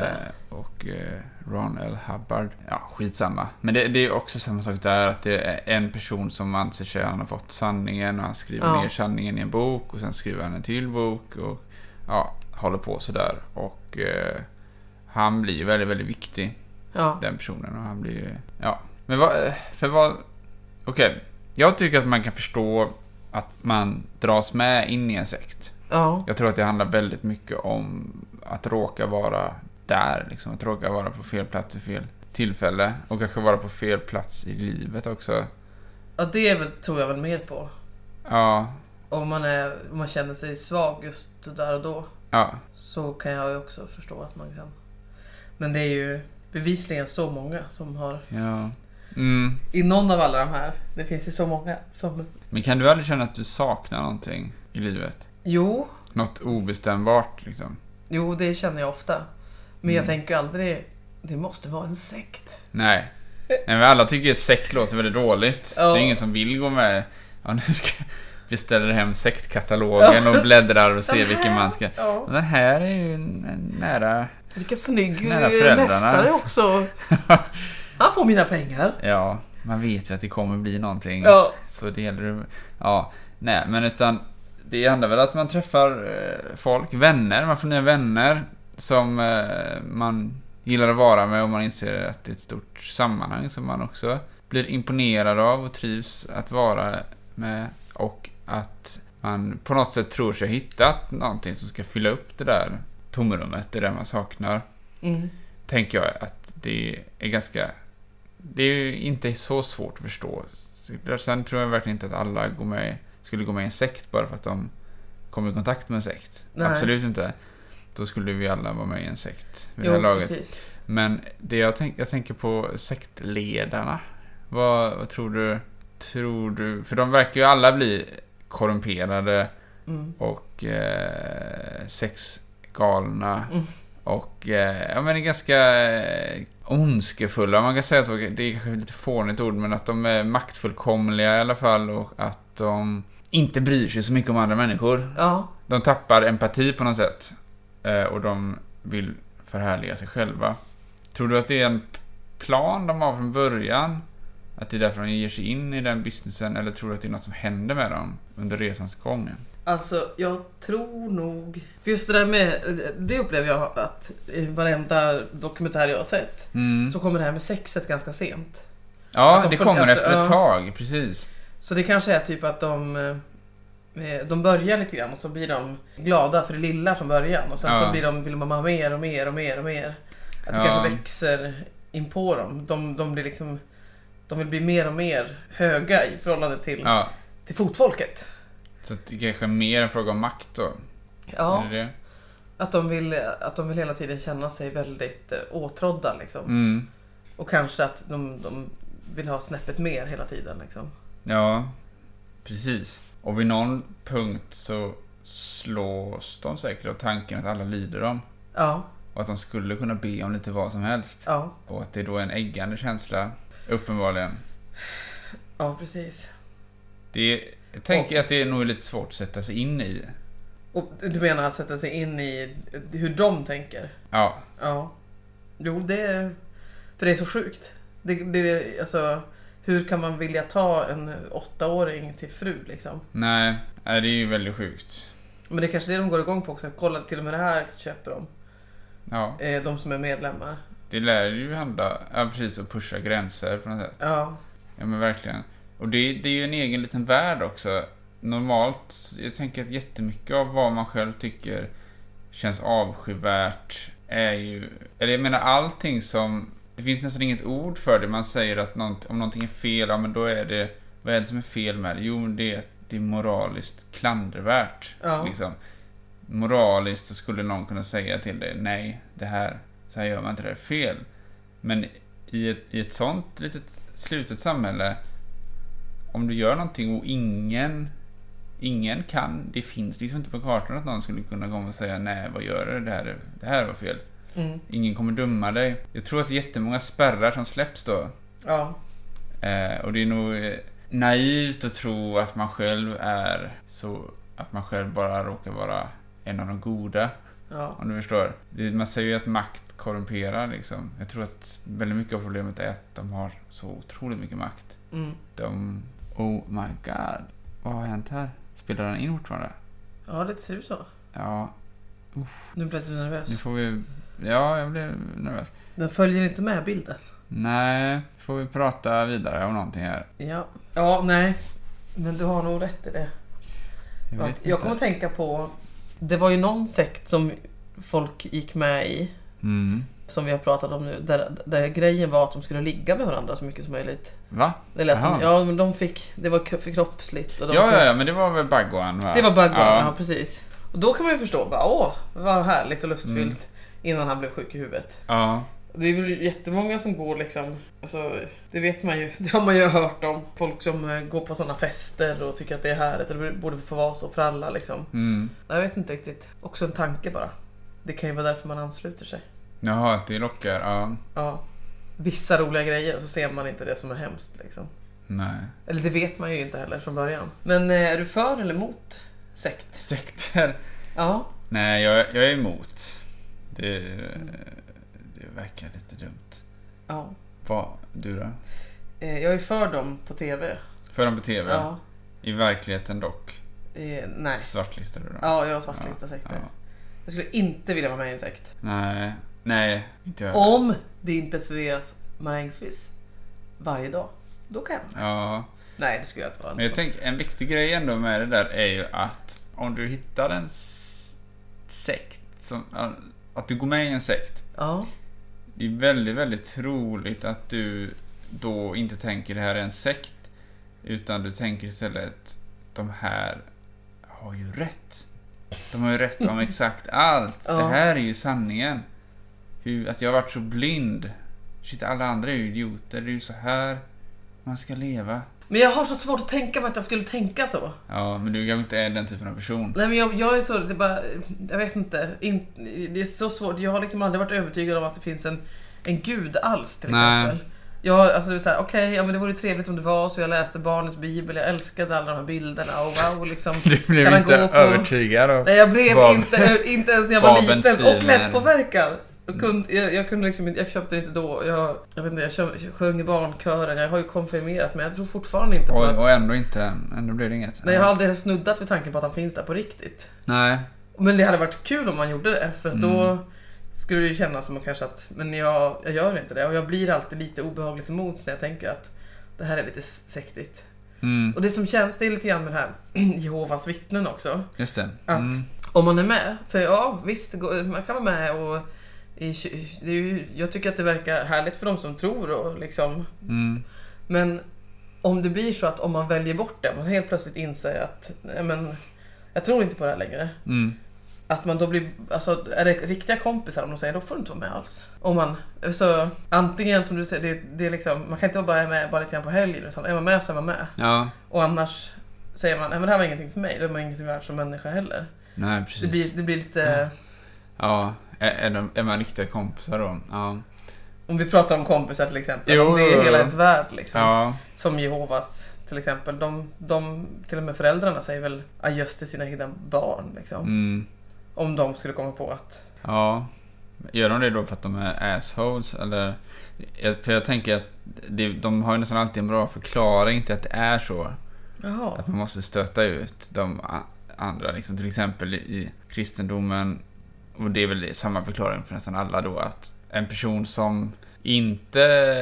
Eh, och eh, Ron L. Hubbard. Ja, skitsamma. Men det, det är också samma sak där, att det är en person som anser sig han har fått sanningen och han skriver Ja. ner sanningen i en bok och sen skriver han en till bok och ja, håller på sådär. Och eh, han blir väldigt, väldigt viktig, Ja. den personen. Och han blir, ja. Men vad, eh, för vad, okej. Jag tycker att man kan förstå att man dras med in i en sekt. ja. Jag tror att det handlar väldigt mycket om att råka vara där, liksom. Att råka vara på fel plats vid fel tillfälle. Och kanske vara på fel plats i livet också. Ja, det är väl, tror jag väl mer på. Ja, Om man, är, om man känner sig svag just där och då ja, så kan jag ju också förstå att man kan. Men det är ju bevisligen så många som har, ja. Mm. i någon av alla de här, det finns ju så många som... Men kan du aldrig känna att du saknar någonting i livet? Jo, Något obestämbart liksom? jo det känner jag ofta. Men jag Mm. tänker ju aldrig, det måste vara en sekt. Nej. Nej men alla tycker att sekt låter väldigt dåligt. Ja. Det är ingen som vill gå med. Ja, nu ska jag beställer hem sektkatalogen och bläddrar och ser vilken man ska... Ja. Den här är ju en- en nära... Vilken snygg Nära eh, föräldrarna. mästare också. Han får mina pengar. Ja, man vet ju att det kommer bli någonting. Ja, Så det gäller ju- Ja, nej men utan... Det handlar väl att man träffar eh, folk, vänner, man får nya vänner som eh, man gillar att vara med och man inser att det är ett stort sammanhang som man också blir imponerad av och trivs att vara med och att man på något sätt tror sig ha hittat någonting som ska fylla upp det där tomrummet, det där man saknar mm. tänker jag att det är ganska... Det är ju inte så svårt att förstå. Sen tror jag verkligen inte att alla går med, skulle gå med i en sekt bara för att de kommer i kontakt med en sekt. Nej. Absolut inte. Då skulle vi alla vara med i en sekt vid det här jo laget. precis. Men det jag, tänk, jag tänker på sektledarna. Vad, vad tror du? Tror du? För de verkar ju alla bli korrumperade Mm. och eh, sexgalna Mm. och eh, ja, men är ganska eh, ondskefulla. Man kan säga så, det är kanske lite fånigt ord, men att de är maktfullkomliga i alla fall och att de inte bryr sig så mycket om andra människor. Ja, De tappar empati på något sätt eh, och de vill förhärliga sig själva. Tror du att det är en plan de har från början? Att det är därför de ger sig in i den businessen eller tror du att det är något som händer med dem under resans gång? Alltså jag tror nog... För just det där med... Det upplever jag att i varenda dokumentär jag har sett Mm. så kommer det här med sexet ganska sent. Ja, Att de det får- kommer alltså, efter ett ja. tag, precis. Så det kanske är typ att de... eh, De börjar lite grann och så blir de glada för det lilla från början och sen Ja. så blir de, vill de ha mer och mer och mer och mer. Att det Ja. kanske växer in på dem. De, de blir liksom... De vill bli mer och mer höga i förhållande till, Ja, till fotfolket. så att det kanske är mer en fråga om makt då? Ja, Är det det? att de, vill, att de vill hela tiden känna sig väldigt eh, åtrådda liksom. Mm. Och kanske att de, de vill ha snäppet mer hela tiden. Liksom. Ja, precis. Och vid någon punkt så slås de säkert av tanken att alla lyder dem. Ja, Och att de skulle kunna be om lite vad som helst. ja, Och att det då är en äggande känsla, uppenbarligen. ja precis. Det är, jag tänker att det är nog lite svårt att sätta sig in i. Och du menar att sätta sig in i hur de tänker? Ja, Ja. Jo, det är... För det är så sjukt. Det, det, alltså, hur kan man vilja ta en åttaåring till fru liksom? nej, nej, det är ju väldigt sjukt. Men det är kanske det de går igång på också. Kolla, till och med det här köper de. Ja, Eh, de som är medlemmar. det lär ju handla, ja precis, att pusha gränser på något sätt. Ja, Ja men verkligen. Och det, det är ju en egen liten värld också. Normalt, jag tänker att jättemycket av vad man själv tycker känns avskyvärt är ju... Eller jag menar allting som... Det finns nästan inget ord för det. Man säger att nånt, om någonting är fel, ja men då är det... Vad är det som är fel med det? Jo, men det är att det är moraliskt klandervärt. Ja. Liksom. Moraliskt så skulle någon kunna säga till dig, nej, det här, så här gör man inte, det här är fel. Men i ett, i ett sånt litet slutet samhälle, om du gör någonting och ingen, ingen kan, det finns liksom inte på kartan att någon skulle kunna komma och säga nej, vad gör du? Det här, är- det här var fel. Mm. Ingen kommer döma dig. Jag tror att det är jättemånga spärrar som släpps då. Ja. Eh, och det är nog eh, naivt att tro att man själv är så... Att man själv bara råkar vara en av de goda, ja. om du förstår. Det, man säger ju att makt korrumperar liksom. Jag tror att väldigt mycket av problemet är att de har så otroligt mycket makt. Mm. De... Oh my god. Vad har hänt här? Spelar den in fortfarande? Ja, det ser ut så. Ja, Nu blir jag lite nu nervös. får vi... Ja, jag blev nervös. Den följer inte med bilden. Nej, får vi prata vidare om någonting här? Ja. Ja, nej. Men du har nog rätt i det. Jag Jag, vet jag inte. kommer att tänka på... Det var ju någon sekt som folk gick med i. Mm. Som vi har pratat om nu. Där, där grejen var att de skulle ligga med varandra så mycket som möjligt. Va? Eller att de, Jaha. ja, men de fick... Det var kro- för kroppsligt. Och de Ja, skulle- ja, ja, men det var väl Bagguan va? Det var bugg ja. ja, Ja. precis. Och då kan man ju förstå, bara, åh, vad härligt och lustfyllt. Mm. Innan han blev sjuk i huvudet. ja. Det är väl jättemånga som går liksom, alltså, det vet man ju, det har man ju hört om. Folk som eh, går på sådana fester och tycker att det är härligt, eller det borde få vara så för alla liksom. Mm. Jag vet inte riktigt. Också en tanke bara. Det kan ju vara därför man ansluter sig. Jaha, att det lockar. Ja. Ja. Vissa roliga grejer och så ser man inte det som är hemskt liksom. Nej. Eller det vet man ju inte heller från början. Men eh, är du för eller emot sekt? Sekter. Ja. Nej, jag, jag är emot. Det, det verkar lite dumt. ja. Vad, du då? Eh, Jag är för dem på TV. För dem på TV? Ja. I verkligheten dock? Eh, nej. Svartlistar du dem? Ja, jag har svartlista sekter. Ja. Jag skulle inte vilja vara med i en sekt. Nej. Nej, inte jag. Om det inte serveras marängsviss varje dag. Då kan jag. Ja. Nej, det skulle jag inte vara. Men jag tänker, en viktig grej ändå med det där är ju att om du hittar en s- sekt som... Att du går med i en sekt Ja. Det är väldigt, väldigt troligt att du då inte tänker det här är en sekt. Utan du tänker istället de här har ju rätt. De har ju rätt om exakt allt. Ja. Det här är ju sanningen. Hur, att jag har varit så blind. Shit, alla andra är ju idioter. Det är ju så här man ska leva. Men jag har så svårt att tänka mig att jag skulle tänka så. Ja, men du kanske inte är den typen av person. Nej men jag, jag är så, det är bara, jag vet inte. In, det är så svårt. Jag har liksom aldrig varit övertygad om att det finns en, en gud alls till Nej. exempel. Jag, alltså det är såhär, okej, ja men det vore trevligt om det var så. Jag läste barnens bibel, jag älskade alla de här bilderna och wow liksom. Du Kan blev han inte gå på- övertygad av... Nej jag blev Bab- inte, inte ens när jag var Babens liten och bil, lättpåverkad. Jag, kunde, jag, jag kunde liksom inte, jag köpte det inte då. Jag, jag vet inte, jag kö- jag sjöng i barnkören, jag har ju konfirmerat men jag tror fortfarande inte på Och, att... och ändå inte. Ändå blev det inget. Nej jag har aldrig ens snuddat vid tanken på att han finns där på riktigt. Nej. Men det hade varit kul om man gjorde det för att då Mm. skulle det ju kännas som att kanske att men jag, jag gör inte det och jag blir alltid lite obehagligt till mods när jag tänker att det här är lite s- sektigt. Mm, Och det som känns det är lite grann med det här Jehovas vittnen också. just det. Att- Mm. Om man är med, för ja visst det går- man kan vara med och i, ky- det är ju, jag tycker att det verkar härligt för de som tror och liksom Mm. men om det blir så att om man väljer bort det, man helt plötsligt inser att nej, men, jag tror inte på det här längre. Mm. Att man då blir, alltså är det riktiga kompisar om de säger då får du inte vara med alls. Om man, så antingen som du säger, det, det är liksom, man kan inte bara vara med bara lite grann på helgen utan är man med så är man med. Ja, Och annars säger man, nej men det här var ingenting för mig, då är man ingenting värd som människa heller. nej precis. Mm. Det blir, det blir lite, Ja, är, är, de, är man riktiga kompisar då? Ja. om vi pratar om kompisar till exempel, Jo, om det jo, är jo. hela ens värld liksom. Ja, Som Jehovas till exempel, de, de, till och med föräldrarna säger väl adjöss till sina egna barn liksom. mm, Om de skulle komma på att, ja. Gör de det då för att de är assholes eller? Jag- För jag tänker att det, de har ju nästan alltid en bra förklaring till att det är så. jaha, Att man måste stöta ut de a- andra. Liksom, till exempel i kristendomen, och det är väl samma förklaring för nästan alla då, att en person som inte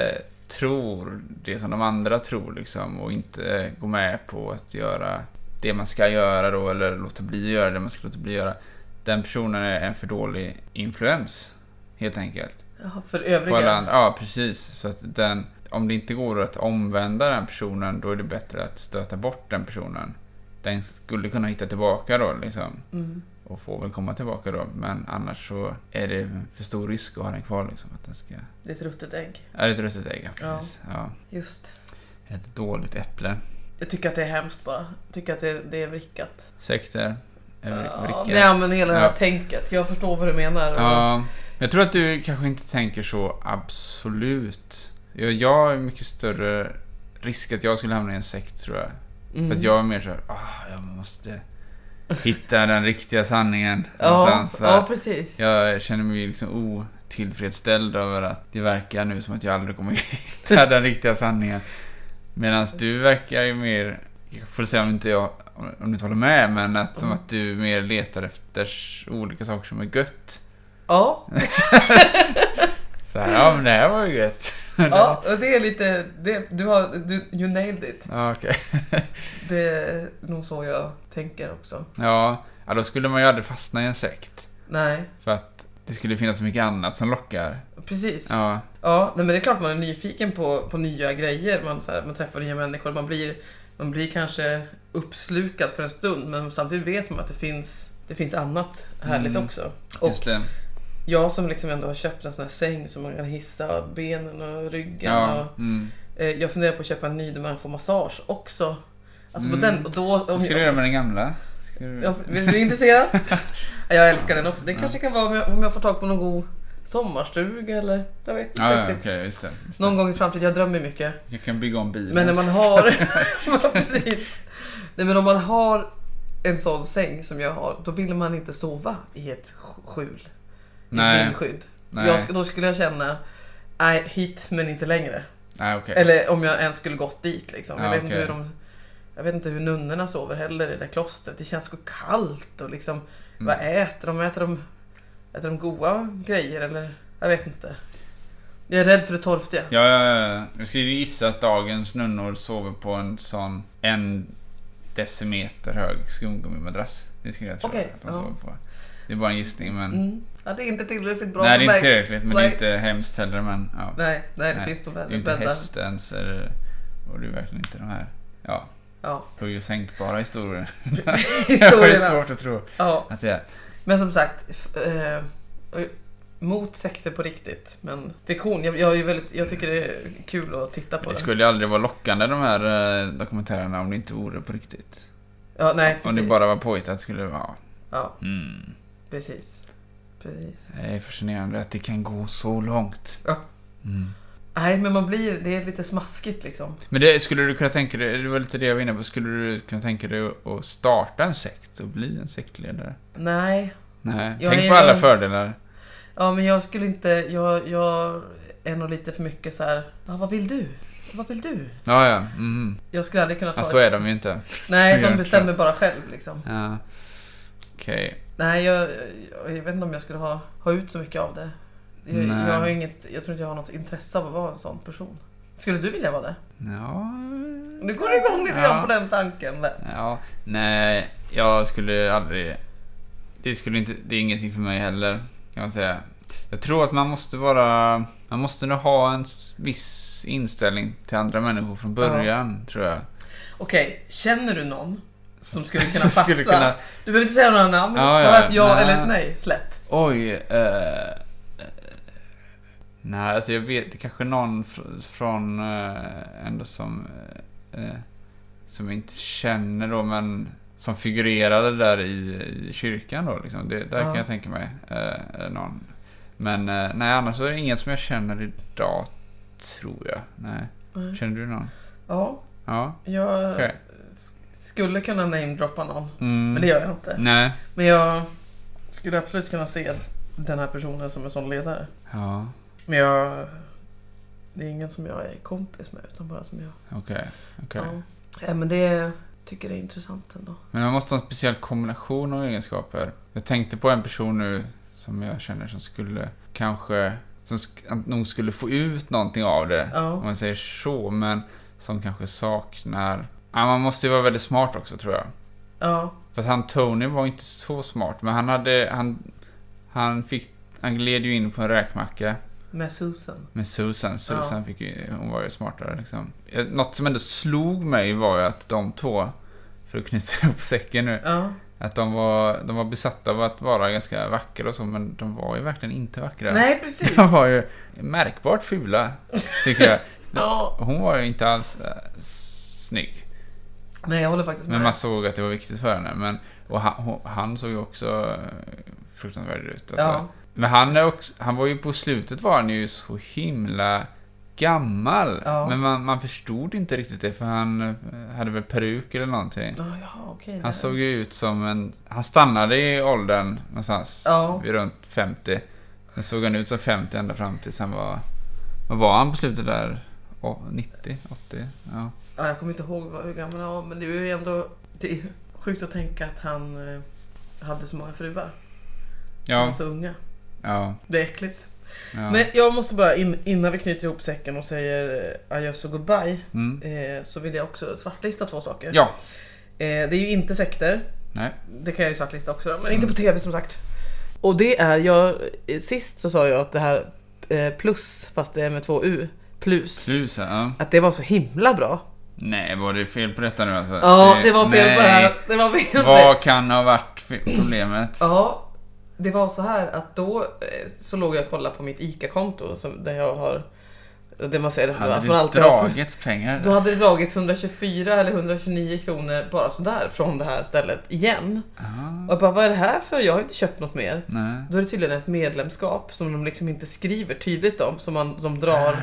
tror det som de andra tror liksom, och inte eh, går med på att göra det man ska göra då, eller låta bli att göra det man ska låta bli att göra, den personen är en för dålig influens, helt enkelt. jaha, för På alla övriga. andra. Ja, precis. Så att den, om det inte går att omvända den personen, då är det bättre att stöta bort den personen. Den skulle kunna hitta tillbaka då, liksom. Mm. Och får väl komma tillbaka då, men annars så är det för stor risk att ha den kvar liksom. Att den ska... Det är ett ruttet ägg. Ja, det är ett ruttet ägg, ja, precis. Ja. Just. Ett dåligt äpple. Jag tycker att det är hemskt bara. Jag tycker att det, det är vrickat. Sekter. Ja, Över- vrickor. nej men hela det här Ja. tänket. Jag förstår vad du menar. och Ja, Jag tror att du kanske inte tänker så absolut. Jag, jag är mycket större risk att jag skulle hamna i en sekt tror jag. Mm. För att jag är mer såhär, ah, jag måste hitta den riktiga sanningen ja, någonstans. Så här. ja, precis. Jag känner mig liksom otillfredsställd över att det verkar nu som att jag aldrig kommer hitta den riktiga sanningen. Medan du verkar ju mer, jag får säga om inte jag om du inte håller med, men att, Mm. som att du mer letar efter olika saker som är gött. Ja, Så här, ja men det här var ju gött. ja och det är lite... Det, du har... Du, you nailed it. Ja, okej. Det är nog så jag tänker också. Ja, ja, då skulle man ju aldrig fastna i en sekt. Nej, För att det skulle finnas så mycket annat som lockar. precis. Ja, Ja, nej, men det är klart man är nyfiken på, på nya grejer. Man, så här, man träffar nya människor. Man blir, man blir kanske uppslukad för en stund men samtidigt vet man att det finns, det finns annat härligt Mm. också. Och just det. jag som liksom ändå har köpt en sån här säng som man kan hissa benen och ryggen. Ja, mm. Och, eh, jag funderar på att köpa en ny där man får massage också. Alltså på Mm. den, och då, om Vad ska du jag, göra med den gamla? Ska du- Ja, är du intresserad? jag älskar den också. Det kanske kan vara om jag, om jag får tag på någon god sommarstuga eller jag vet inte Ja, ja, okej, riktigt. just det. Just det. Någon gång i framtiden, jag drömmer mycket. Jag kan bygga om bilen. Men när man har... Ja, precis. Nej, men om man har en sån säng som jag har, då vill man inte sova i ett sk- skjul. I ett Nej, vindskydd. nej, Jag, sk- då skulle jag känna, nej hit men inte längre. nej okej. Eller om jag ens skulle gått dit liksom. Jag, Ja, vet inte hur okej. de, jag vet inte hur nunnorna sover heller i det där klostret. Det känns så kallt och liksom, Mm. vad äter de? Äter de, äter de goda grejer eller? Jag vet inte. Jag är rädd för det torftiga. Ja, ja, ja. Jag skulle gissa att dagens nunnor sover på en sån en decimeter hög skumgummimadrass. Det skulle jag tro Okej, att de ja. sover på. Det är bara en gissning men... Mm. Ja, det är inte tillräckligt bra Nej, det är för inte mig. tillräckligt men det är Nej. inte hemskt heller men... Ja. Nej, nej det Nej, finns nog Det är ju väldigt inte bäddar. häst ens eller... Och det är verkligen inte de här... Ja, Ja. höj och sänkbara historier. Det var ju Historierna. svårt att tro ja. att det är. Men som sagt, f- eh, och- mot sekter på riktigt. Men fiktion, jag, jag, är ju väldigt, jag tycker det är kul att titta på Det det. skulle ju aldrig vara lockande de här eh, dokumentärerna om det inte vore på riktigt. Ja, nej, Om precis. det bara var påhittat skulle det vara... Ja, Mm. precis. Precis. Det är fascinerande att det kan gå så långt. Ja. Mm. Nej, men man blir, det är lite smaskigt liksom. Men det, skulle du kunna tänka dig, det var lite det jag var inne på, skulle du kunna tänka dig att starta en sekt och bli en sektledare? Nej, Nej, Jag tänk är- på alla fördelar. ja men jag skulle inte, jag, jag är nog lite för mycket så här. Ja, vad vill du? Vad vill du? Ja, ja. mhm. Jag skulle aldrig kunna ta ja så ett- är de ju inte. Nej, Jag de tror- bestämmer bara själv liksom. Ja. Okej. Nej, jag, jag, jag vet inte om jag skulle ha, ha ut så mycket av det. Jag, Nej. jag, har inget, jag tror inte jag har något intresse av att vara en sån person. Skulle du vilja vara det? Ja. Nu går du igång lite grann Ja. på den tanken. Men. Ja. Nej, jag skulle aldrig... Det, skulle inte, det är ingenting för mig heller, kan man säga. Jag tror att man måste vara... Man måste nog ha en viss inställning till andra människor från början, tror jag. Okej, känner du någon som skulle kunna Som passa? skulle kunna- Du behöver inte säga några namn, Ja, bara ja, ett ja nej. eller ett nej. Slätt. Oj. Eh, eh, nej, alltså jag vet det kanske någon fr- från eh, ändå som eh, eh, som jag inte känner då, men som figurerade där i, i kyrkan då. Liksom. Det, där Ja. kan jag tänka mig eh, eh, någon. Men eh, nej, annars så är det ingen som jag känner idag, tror jag. Nej. Nej. Känner du någon? Ja, Ja, jag Mm. okej. s- skulle kunna namedroppa någon, Mm. men det gör jag inte. Nej. Men jag skulle absolut kunna se den här personen som en sån ledare. Ja, Men jag... Det är ingen som jag är kompis med utan bara som jag... okej. okej. Ja. Ja, men det tycker jag är intressant ändå. Men man måste ha en speciell kombination av egenskaper. Jag tänkte på en person nu som jag känner som skulle kanske, som sk- nog skulle få ut någonting av det. Om Ja. man säger så, men som kanske saknar... Ja, man måste ju vara väldigt smart också tror jag. Ja. För att han Tony var inte så smart, men han hade, han, han fick, han gled ju in på en räkmacka Med Susan. med Susan. Susan fick ju, hon var ju smartare liksom. Eh, Något som ändå slog mig var ju att de två, för att knyta ihop säcken nu, Ja. att de var, de var besatta av att vara ganska vackra och så, men de var ju verkligen inte vackra. Nej, precis. De var ju märkbart fula, tycker jag. Ja. Hon var ju inte alls äh, eh, snygg. Nej, jag håller faktiskt med. Men man såg att det var viktigt för henne. Men, och han, han såg ju också eh, fruktansvärd ut. Alltså. ja. Men han, är också, han var ju på slutet var han ju så himla gammal. Ja. Men man, man förstod inte riktigt det för han eh, hade väl peruk eller någonting. Ja, ja, okej. nej. Han såg ju ut som en... Han stannade i åldern någonstans. Ja. Vid runt 50. Sen såg han ut som 50 ända fram tills han var... Vad var han på slutet där? Å- 90? 80? Ja. Ja, jag kommer inte ihåg vad- hur gammal han var, men det är ju ändå det är sjukt att tänka att han eh, hade så många fruar. Ja. Han var Ja. så unga. Ja. Det är äckligt. ja. Men jag måste bara, in, innan vi knyter ihop säcken och säger eh, adjöss och goodbye, Mm. eh, så vill jag också svartlista två saker. Ja. Eh, det är ju inte sekter. Nej. Det kan jag ju svartlista också då, men inte på TV som sagt. Mm. Och det är, jag, eh, sist så sa jag att det här eh, plus, fast det är med två u, plus, Slus, ja. att det var så himla bra. Nej, var det fel på detta nu alltså? Ja, det var fel på det nej. här. Det var fel på det. Vad kan ha varit fe- problemet? Ja, det var så här att då eh, så låg jag och kollade på mitt ICA-konto som, där jag har, det man säger att Hade man det alltid har. dragits pengar? Då hade det dragits 124 eller 129 kronor bara sådär från det här stället igen. Ah, Och jag bara, vad är det här för? Jag har inte köpt något mer. nej. Då är det tydligen ett medlemskap som de liksom inte skriver tydligt om, som man, de drar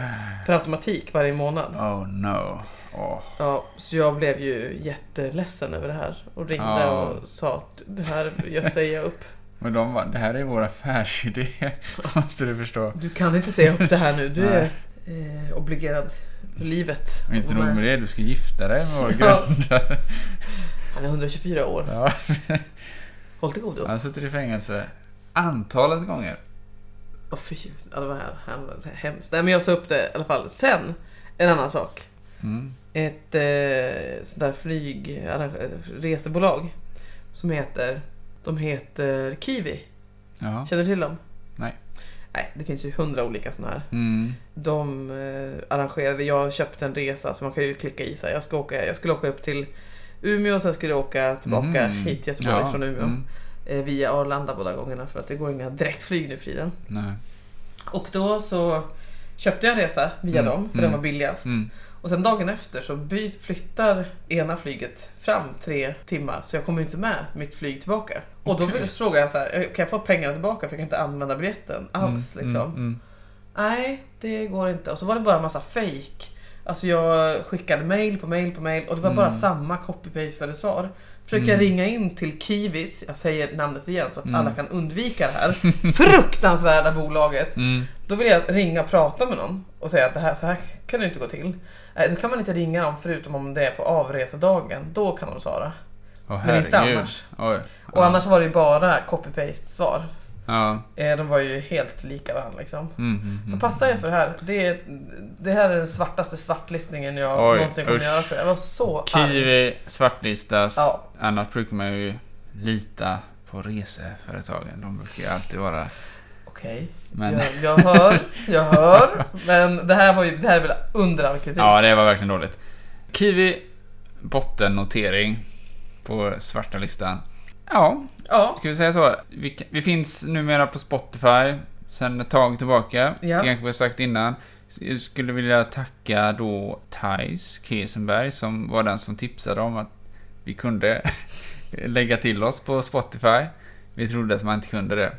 per automatik varje månad. Oh no. Åh. Ja, så jag blev ju jätteledsen över det här och ringde Ja. och sa att det här jag säger jag upp. Men de var, det här är vår affärsidé, måste du förstå. Du kan inte säga upp det här nu, du är eh, obligerad för livet. Och inte Och nog med- med det, du ska gifta dig med vår Ja. grundare. Han är 124 år, Ja. håll till godo. Han sitter i fängelse antalet gånger. Åh fy, ja, det var här- här var så hemskt. Nej men jag sa upp det i alla fall. Sen, en annan sak. Mm. Ett eh, sånt där flyg, arrange- resebolag som heter, de heter Kiwi. Ja. Känner du till dem? Nej. Nej, det finns ju hundra olika sådana här. Mm. De eh, arrangerade, jag köpte en resa så man kan ju klicka i så här, jag, ska åka, jag skulle åka upp till Umeå och sen skulle jag åka tillbaka Mhm. hit till Göteborg Ja, från Umeå. mm. Eh, via Arlanda båda gångerna för att det går inga direktflyg nu för tiden. Nej. Och då så köpte jag en resa via Mm, dem för mm, den var billigast. Mm. Och sen dagen efter så by- flyttar ena flyget fram tre timmar så jag kommer ju inte med mitt flyg tillbaka. Och då Okej. frågar jag så här, "Eh, kan jag få pengarna tillbaka för jag kan inte använda biljetten alls Mm, liksom. Mm. Mm. Nej, det går inte. Och så var det bara en massa fake. Alltså jag skickade mail på mail på mail och det var bara Mm. samma copy-pastade svar. Försöker Mm. jag ringa in till Kiwis, jag säger namnet igen så att Mm. alla kan undvika det här fruktansvärda bolaget. Mm. Då vill jag ringa och prata med någon och säga att det här, så här kan det inte gå till. Eh, Då kan man inte ringa dem förutom om det är på avresedagen. Då kan de svara. Åh, Men inte herregud. annars. Oj. Och annars var det ju bara copy-paste svar. Ja. Eh, Eh, De var ju helt lika varandra liksom. Mm. Mm. Så mm. passa er för det här. Det, är, det här är den svartaste svartlistningen jag Oj, någonsin kommer usch. göra för Jag var så arg. Kiwi svartlistas. Ja. Annars brukar man ju lita på reseföretagen. De brukar ju alltid vara... Okej, Men... jag, jag hör, jag hör. Men det här var ju, det här är väl under all kritik. Ja, det var verkligen dåligt. Kiwi bottennotering på svarta listan. Ja, Ja. ska vi säga så? Vi, vi finns numera på Spotify sen ett tag tillbaka. Ja. Det kanske vi har sagt innan. Jag skulle vilja tacka då Thais Kesenberg som var den som tipsade om att vi kunde lägga till oss på Spotify. Vi trodde att man inte kunde det.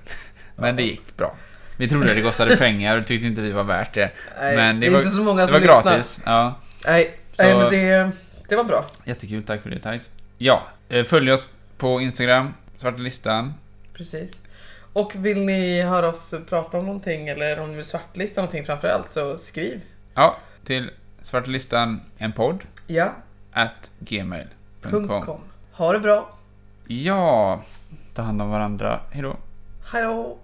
Men det gick bra. Vi trodde det kostade pengar och tyckte inte vi var värt det. Nej, Men det är var- inte så många Det som var lyssnar. gratis. Ja. Nej, Så- nej men det, det var bra. Jättekul, tack för det Thais. Ja, eh, följ oss på Instagram, Svarta Listan. Precis. Och vill ni höra oss prata om någonting eller om ni vill svartlista någonting framförallt så skriv. Ja, till Svarta Listan, en podd, Ja. at Punkt gmail.com. com. Ha det bra. Ja, ta hand om varandra. Hejdå. Hej då.